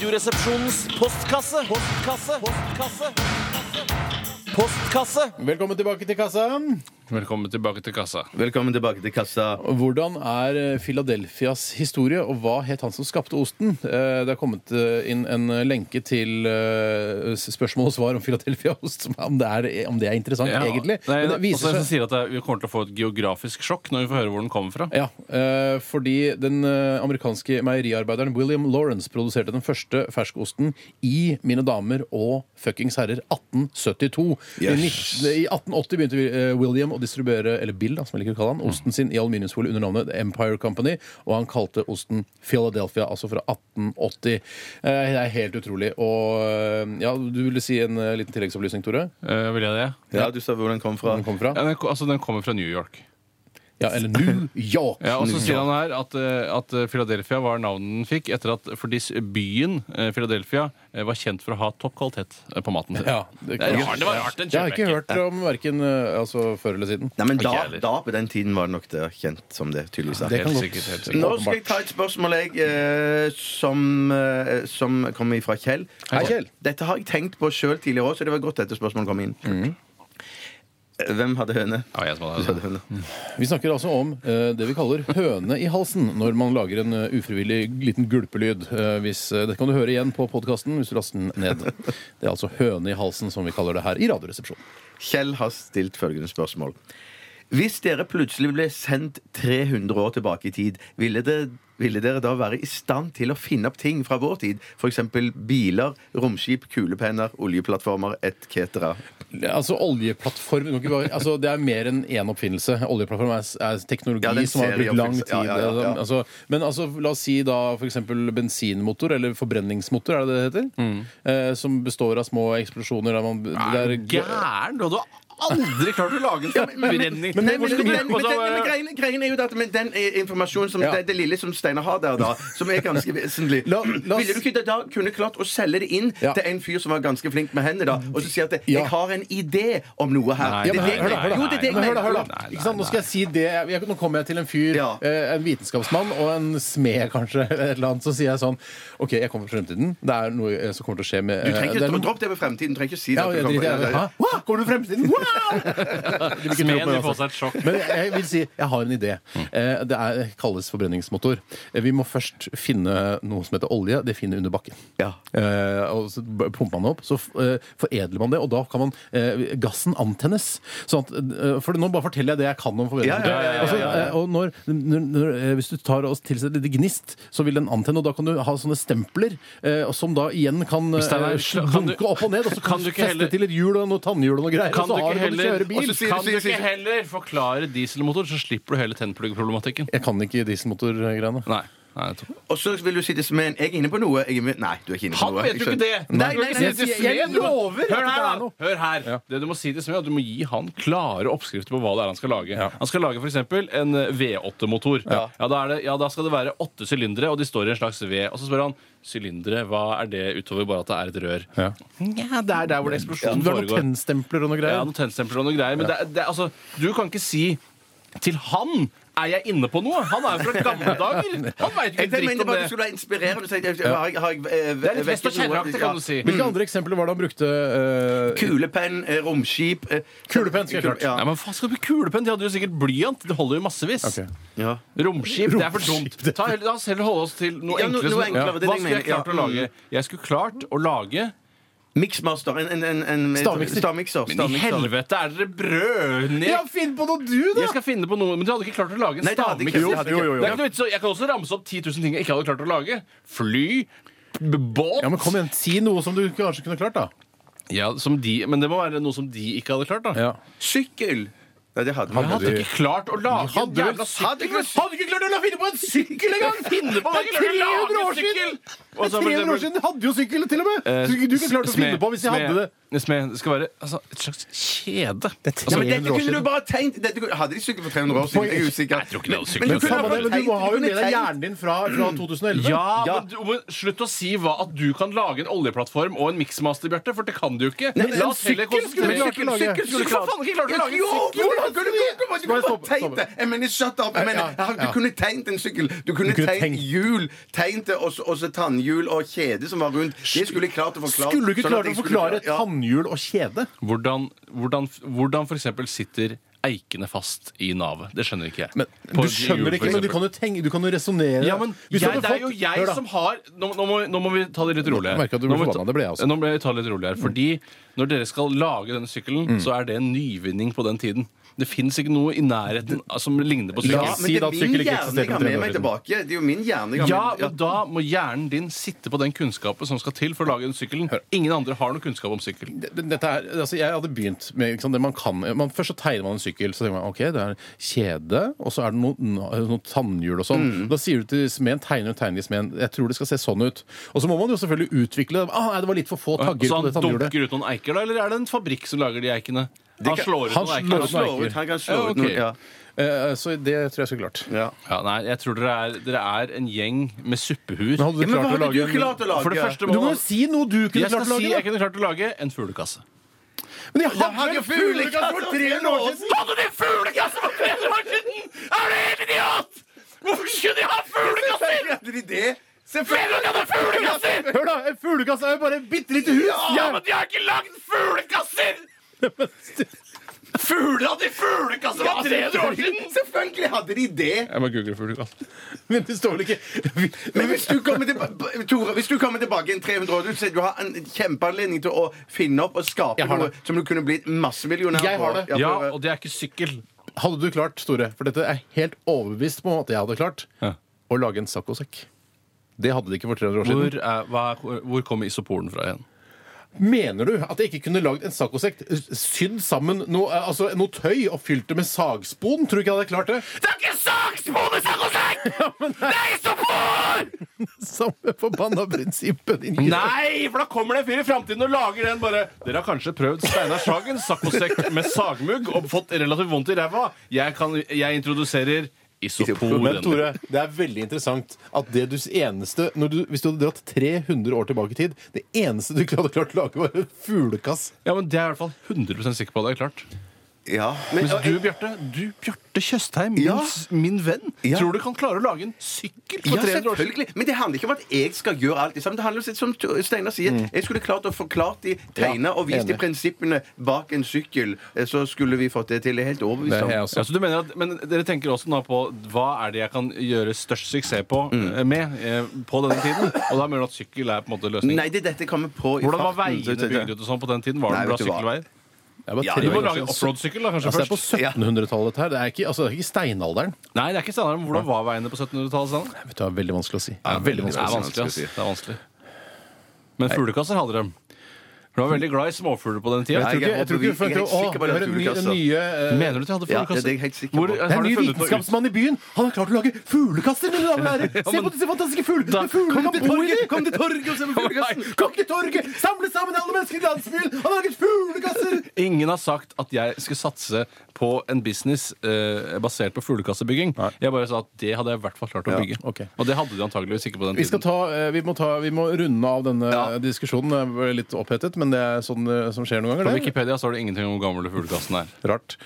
Radioresepsjonens postkasse. Postkasse. Postkasse. Postkasse. Velkommen tilbake til kassa. Velkommen tilbake til kassa. Velkommen tilbake til kassa. Hvordan er eh, Philadelphias historie, og hva het han som skapte osten? Eh, Det er kommet eh, inn en lenke til eh, s- spørsmål og svar om Philadelphia-ost. som- Om, det er- om det er interessant, egentlig. Nei, altså, Men det også viser jeg seg som sier at det er- Vi kommer til å få et geografisk sjokk når vi får høre hvor den kommer fra. Ja, eh, fordi den eh, amerikanske meieriarbeideren William Lawrence produserte den første ferskosten i Mine damer og fuckings herrer 1872. I Yes. nitt- I 1880 begynte vi- eh, William å distribuere, eller Bill, da, som jeg liker å kalle Mm. han, osten sin i aluminiumsfolie under navnet The Empire Company, og han kalte osten Philadelphia, altså fra 1880. Eh, Det er helt utrolig. Og eh, ja, du ville si en eh, liten tilleggsopplysning, Tore? Eh, vil jeg det? Ja, du sa hvor den kom fra. Hvor den kommer fra? Ja, den, ko- altså, den kommer fra New York. Ja, eller New York! Ja, og så sier han her at, eh, at Philadelphia var navnet den fikk etter at fordi s- byen eh, Philadelphia eh, var kjent for å ha topp kvalitet eh, på maten sin. Ja, det, det er kan- rart, det var rart, den Jeg har kjøper ikke jeg ikke. hørt om verken altså, før eller siden. Nei, men da, Ikke heller. da, på den tiden, var det nok det kjent som det, tydeligvis. er. Det kan Helt godt- sikkert, helt sikkert. Nå skal jeg ta et spørsmål jeg, eh, som, eh, som kommer fra Kjell. Hei, Kjell. Dette har jeg tenkt på sjøl tidligere òg, så det var godt dette spørsmålet kom inn. Mm. Eh, Hvem hadde høne? Ja, Mm. jeg som Du hadde hadde høne. Vi snakker altså om eh, det vi kaller høne i halsen når man lager en eh, ufrivillig liten gulpelyd. Eh, hvis, eh, dette kan du høre igjen på podkasten hvis du laster den ned. Det er altså høne i halsen som vi kaller det her i Radioresepsjonen. Kjell har stilt følgende spørsmål. Hvis dere plutselig ble sendt 300 år tilbake i tid, ville, det, ville dere da være i stand til å finne opp ting fra vår tid? F.eks. biler, romskip, kulepenner, oljeplattformer etc. Altså oljeplattform du kan ikke bare- altså, Det er mer enn én oppfinnelse. Oljeplattform er, er teknologi Ja, det er en som har brukt lang serieoppfinnelse. tid. Ja, ja, ja, ja. Altså, men altså, la oss si da f.eks. bensinmotor, eller forbrenningsmotor, er det det det heter? Eh, som består av små eksplosjoner der man Er du det er- gæren? Du hadde aldri klart å lage en forbrenning. Men, nei, men, men, men, men, Og så men, bare- greien, greien er jo det at men den eh, informasjonen som Ja. det, det lille som Steinar har der, da, som er ganske vesentlig La- la oss- Ville du ikke da kunne klart å selge det inn Ja. til en fyr som var ganske flink med hendene, da, og så si at det, Ja. 'jeg har en idé om noe her'? Nei, Det er Ja, men det jeg hør, hør da, hør da. mener. Jo, det er det jeg Men hør da, hør da. mener. Nei, nei, Ikke sant? Nå skal jeg si det. Jeg, nå kommer jeg til en fyr, Ja. eh, en vitenskapsmann og en smed, kanskje, eller et eller annet, så sier jeg sånn OK, jeg kommer fra fremtiden. Det er noe eh, som kommer til å skje med Du trenger det ikke er noe- dropp det med fremtiden. Du trenger ikke si det. ja, at du jeg kommer- driter i det. Hæ? Wow, Kommer du fra fremtiden? Wow! Det blir ikke Smeden noe vil på det, få altså. seg et sjokk. Men jeg vil si jeg har en idé. Eh, Det er, kalles forbrenningsmotor. Eh, Vi må først finne noe som heter olje. Det finner vi under bakken. Ja. Eh, og så b- pumper man det opp, så f- eh, foredler man det, og da kan man eh, gassen antennes. Sånn at, eh, for nå bare forteller jeg det jeg kan om forbrenningsmotor. Ja, ja, ja, ja, Altså, ja, ja. eh, og når, når, når, eh, hvis du tar og tilsetter litt gnist, så vil den antenne, og da kan du ha sånne stempler, eh, og som da igjen kan eh, Steinar, sl- kan du- dunke opp og ned, og så kan kan, du du ikke heller- feste til et hjul og noe tannhjul og noe greier, Kan og du så ikke har du kan du heller, kjøre bil. og så sier- kan du sier- ikke sier- heller forklare dieselmotor, så slipper du hele tennpluggproblematikken. Jeg kan ikke dieselmotorgreiene. Nei. Nei, jeg tror- Og så vil du si til Smen jeg er inne på noe. Jeg er inne... Nei, du er ikke inne på Han noe. vet jeg jo ikke det! skjønner. Nei, nei, nei, jeg Du kan ikke si sier- til jeg Smed, du må- lover at Hør det her, er da! noe. Hør her. Det du må si til Smed, er at du må gi han klare oppskrifter på hva det er han skal lage. Han skal lage f.eks. en eh, V8-motor. Ja. da er det- ja, da skal det være åtte sylindere, og de står i en slags V. Og så spør han sylindere, hva er det utover bare at det er et rør? Ja. Nja, det er der hvor det eksplosjonen Du har noen sånn foregår. tennstempler og noe Ja, greier. noen tennstempelet og noen greier. Men det, er- det, er- altså, du kan ikke si til han er jeg inne på noe? Han er jo fra gamle dager! Han veit jo ikke Jeg dritt mener om bare du det. skulle være inspirerende. Så jeg, jeg, har jeg, har jeg, eh, Det er litt fest og vekket noe? kjerreaktig, kan du si. Hvilke andre eksempler var det han brukte? eh, Kulepenn, eh, romskip eh, Kulepenn skal jeg klart. Ja. Nei, men faen skal du med kulepenn? De hadde jo sikkert blyant. Det holder jo massevis. Ok. Ja. Romskip, det er for dumt. Ta, heller- la oss heller holde oss til noe Ja, no- enklere. noe som- enklere, det er Hva det jeg skulle jeg mener, klart å ja. lage? Jeg skulle klart å lage Mixmaster. En, en, en, en Stavmikser. stavmikser. Men i stavmikser. helvete, er dere brødne? Ja, finn på noe du, Jeg da! skal finne på noe, men du hadde ikke klart å lage en Nei, det hadde jeg ikke. stavmikser. Det hadde jeg ikke. Jo, jo, jo. Det er ikke noe vits å- Jeg kan også ramse opp 10 000 ting jeg ikke hadde klart å lage. Fly, b- båt Ja, men kom igjen, Si noe som du kanskje kunne klart, da. Ja, som de, Men det må være noe som de ikke hadde klart. da Sykkel. Nei, det hadde man Jeg hadde ikke klart å lage en Hadde jævla vel- sykkel! men Hadde ikke klart å la- finne på en sykkel engang! Finne på, Det er 300 år siden! Det Altså, er 300 år siden Du hadde jo sykkel, til og med! Så du kunne klart å finne på hvis jeg hadde det. eh, Smed, det skal være altså, et slags kjede. Ja, Altså, men dette kunne du bare tegnet dette, kunne- Hadde de sykkel for 300 år siden? Jeg er usikker. Nei, jeg tror ikke de hadde sykkel. Men Men, du kunne samme bare det, men du tegnet- må ha du jo kunne med deg tegnet- hjernen din fra, fra 2011. Mm. ja, Men, du- men slutt å si hva at du kan lage en oljeplattform og en miksmaster, Bjarte, for det kan du jo ikke. men en sykkel skulle du konsentrere- klart å lage. Sykkel skulle du for faen ikke klart å lage en Jo, sykkel! hvordan han kunne gått om, og du kunne Bare bare stopp, tegnet det! stopp. Jeg mener, shut up! Jeg mener, Ja, han- du ja. kunne tegnet en sykkel. Du kunne kunne tegnet tegnet- hjul, tegnet det, og så- og så tannhjul og kjede som var rundt. Det skulle jeg klart å forklare. Skulle du ikke sånn at klart å jeg skulle forklare klart- ja. tannhjul og kjede? Hvordan, hvordan, hvordan for eksempel sitter eikene fast i navet? Det skjønner ikke jeg. Men, På du et hjul, skjønner for ikke, men du eksempel. kan jo tenke, du kan jo resonnere. ja, men Hvis jeg, du hadde det er jo fått- jeg Hør da. som har nå, nå, må, nå må vi ta det litt rolig Jeg her. merker at du ble Nå må vi ta- forbanna. Det ble jeg også. Mm. Nå ble jeg ta det litt rolig her. Fordi når dere skal lage denne sykkelen, så er det en nyvinning på den tiden. Det fins ikke noe i nærheten av- som ligner på Ja, sykkel. Ja, men si det da er at min sykkel ikke hjerne jeg eksisterte har for 30 med år meg siden. tilbake. Det er jo min hjerne jeg har Ja, med men da må hjernen din sitte på den kunnskapen som skal til for å lage den sykkelen. Ingen andre har noe kunnskap om sykkel. Det- det- Dette er, altså jeg hadde begynt med ikke sant, det man kan man, Først så tegner man en sykkel. Så tenker man ok, det er kjede, og så er det noe, noe tannhjul og Mm. sånn. Da sier du til smeden, tegner du tegner i smeden, jeg tror det skal se sånn ut. Og så må man jo selvfølgelig utvikle det. Ah, nei, det var litt for få tagger Så på han det tannhjulet. dunker ut noen eiker, da? Eller er det en fabrikk som lager de eikene? Han kan- slår ut han slår noen eiker. Han da. slår ut, han kan slå Ja, ut noe. ok. Ja. Eh, så det tror jeg skulle klart. Ja. Ja, nei, jeg tror dere er, dere er en gjeng med suppehuer. Men hadde du Ja, men klart å hva hadde lage du en- klart å lage? For det første Men Du må må jo si noe du kunne jeg skal klart å si lage. jeg da. kunne klart å lage en fuglekasse. Men jeg Jeg hadde jo fuglekasse for 300 år siden! Hadde de fuglekasse for 300 år siden?! Er du helt idiot?! Hvorfor skulle de ha Selvfølgelig hadde de det! Selvfølgelig hadde de fuglekasser! Hør da, en fuglekasse er jo bare et bitte lite hus! men de har ikke lagd fuglekasser! Fugler hadde i fuglekasse for 300 år siden! Selvfølgelig hadde de det! Jeg må google fuglekasse. Men det står vel ikke Men hvis du kommer, tilba Tore, hvis du kommer tilbake igjen 300 år, du ser du har en kjempeanledning til å finne opp og skape Jeg har noe det. som du kunne blitt massemillionær Jeg har det. på. Ja, Tore. og det er ikke sykkel. Hadde du klart, Tore, for dette er jeg helt overbevist på at jeg hadde klart, Ja. å lage en saccosekk. Det hadde de ikke for 300 år Hvor, siden. er, hva, er- hvor kommer isoporen fra igjen? Mener du at jeg ikke kunne lagd en saccosekk sydd sammen noe, eh, altså, noe tøy og fylt det med sagspon? Tror du ikke jeg hadde klart det? Det er ikke sagspon i saccosekk! Det er isopor! Samme forbanna prinsippet, din Nei, for da kommer det en fyr i framtiden og lager den bare Dere har kanskje prøvd Steinar Sagens saccosekk med sagmugg og fått relativt vondt i ræva. Jeg, kan, jeg introduserer isoporen. Men Tore, det er veldig interessant at det du eneste når du, Hvis du hadde dratt 300 år tilbake i tid, det eneste du ikke hadde klart å lage, var en fuglekass. Ja, men Det er jeg i hvert fall 100 sikker på at jeg har klart. Ja. Men, Mens du, Bjarte, du, Bjarte Tjøstheim, Ja. min, min venn, Ja. tror du kan klare å lage en sykkel på 300 ja, år siden? selvfølgelig. Men det handler ikke om at jeg skal gjøre alt. det samme. Det handler om, som Tor- Steinar sier, jeg skulle klart å forklart de tegna Ja, og vist de enig. prinsippene bak en sykkel. eh, Så skulle vi fått det til. Jeg er helt overbevist om. Ja, så du mener at, men dere tenker også nå på hva er det jeg kan gjøre størst suksess på Mm. eh, med eh, på denne tiden? Og da mener du at sykkel er på en måte løsningen? Nei, det er dette jeg kommer på i Hvordan var farten, så- veiene bygd ut og sånn på den tiden? Var Nei, det bra vet du hva? sykkelveier? Jeg var Ja, tre Du det må år lage gammel. offroad-sykkel da, kanskje Altså, det er på først? 1700-tallet dette her. Det er ikke, altså, det er ikke steinalderen. Nei, det er ikke standard. men Hvordan var veiene på 1700-tallet? Vet Steinar? du, det er veldig vanskelig å si. Det er Det veldig er vanskelig å si. vanskelig, ass. Det er vanskelig. Men fuglekasser hadde de. For de var veldig glad i småfugler på den tida. Jeg tror Nei, ikke, Jeg jeg tror ikke vi er fant helt til å sikker på det, høre ny- fuglekasser. nye eh, Mener du at de hadde Ja, det fuglekasser? er jeg helt sikker på. Hvor- Det Det er har en ny du funnet noe ut? vitenskapsmann i byen! Han har klart å lage fuglekasser! mine damer og herrer! Se men- på disse fantastiske fuglene! Fuglene kan bo i dem! Kom til torget og se på fuglekassen! Kom til torget! Samle sammen alle mennesker i landsbyen! Han har laget fuglekasser! Ingen har sagt at jeg skulle satse på en business eh, basert på fuglekassebygging. Jeg bare sa at det hadde jeg i hvert fall klart å bygge. ok. Og det hadde de antageligvis ikke på den Vi, skal tiden. ta, eh, vi, må ta, vi må runde av denne diskusjonen. Jeg ble litt opphetet, men det er sånn eh, som skjer noen På ganger. det. Wikipedia står det ingenting om hvor gammel fuglekassen er. Rart.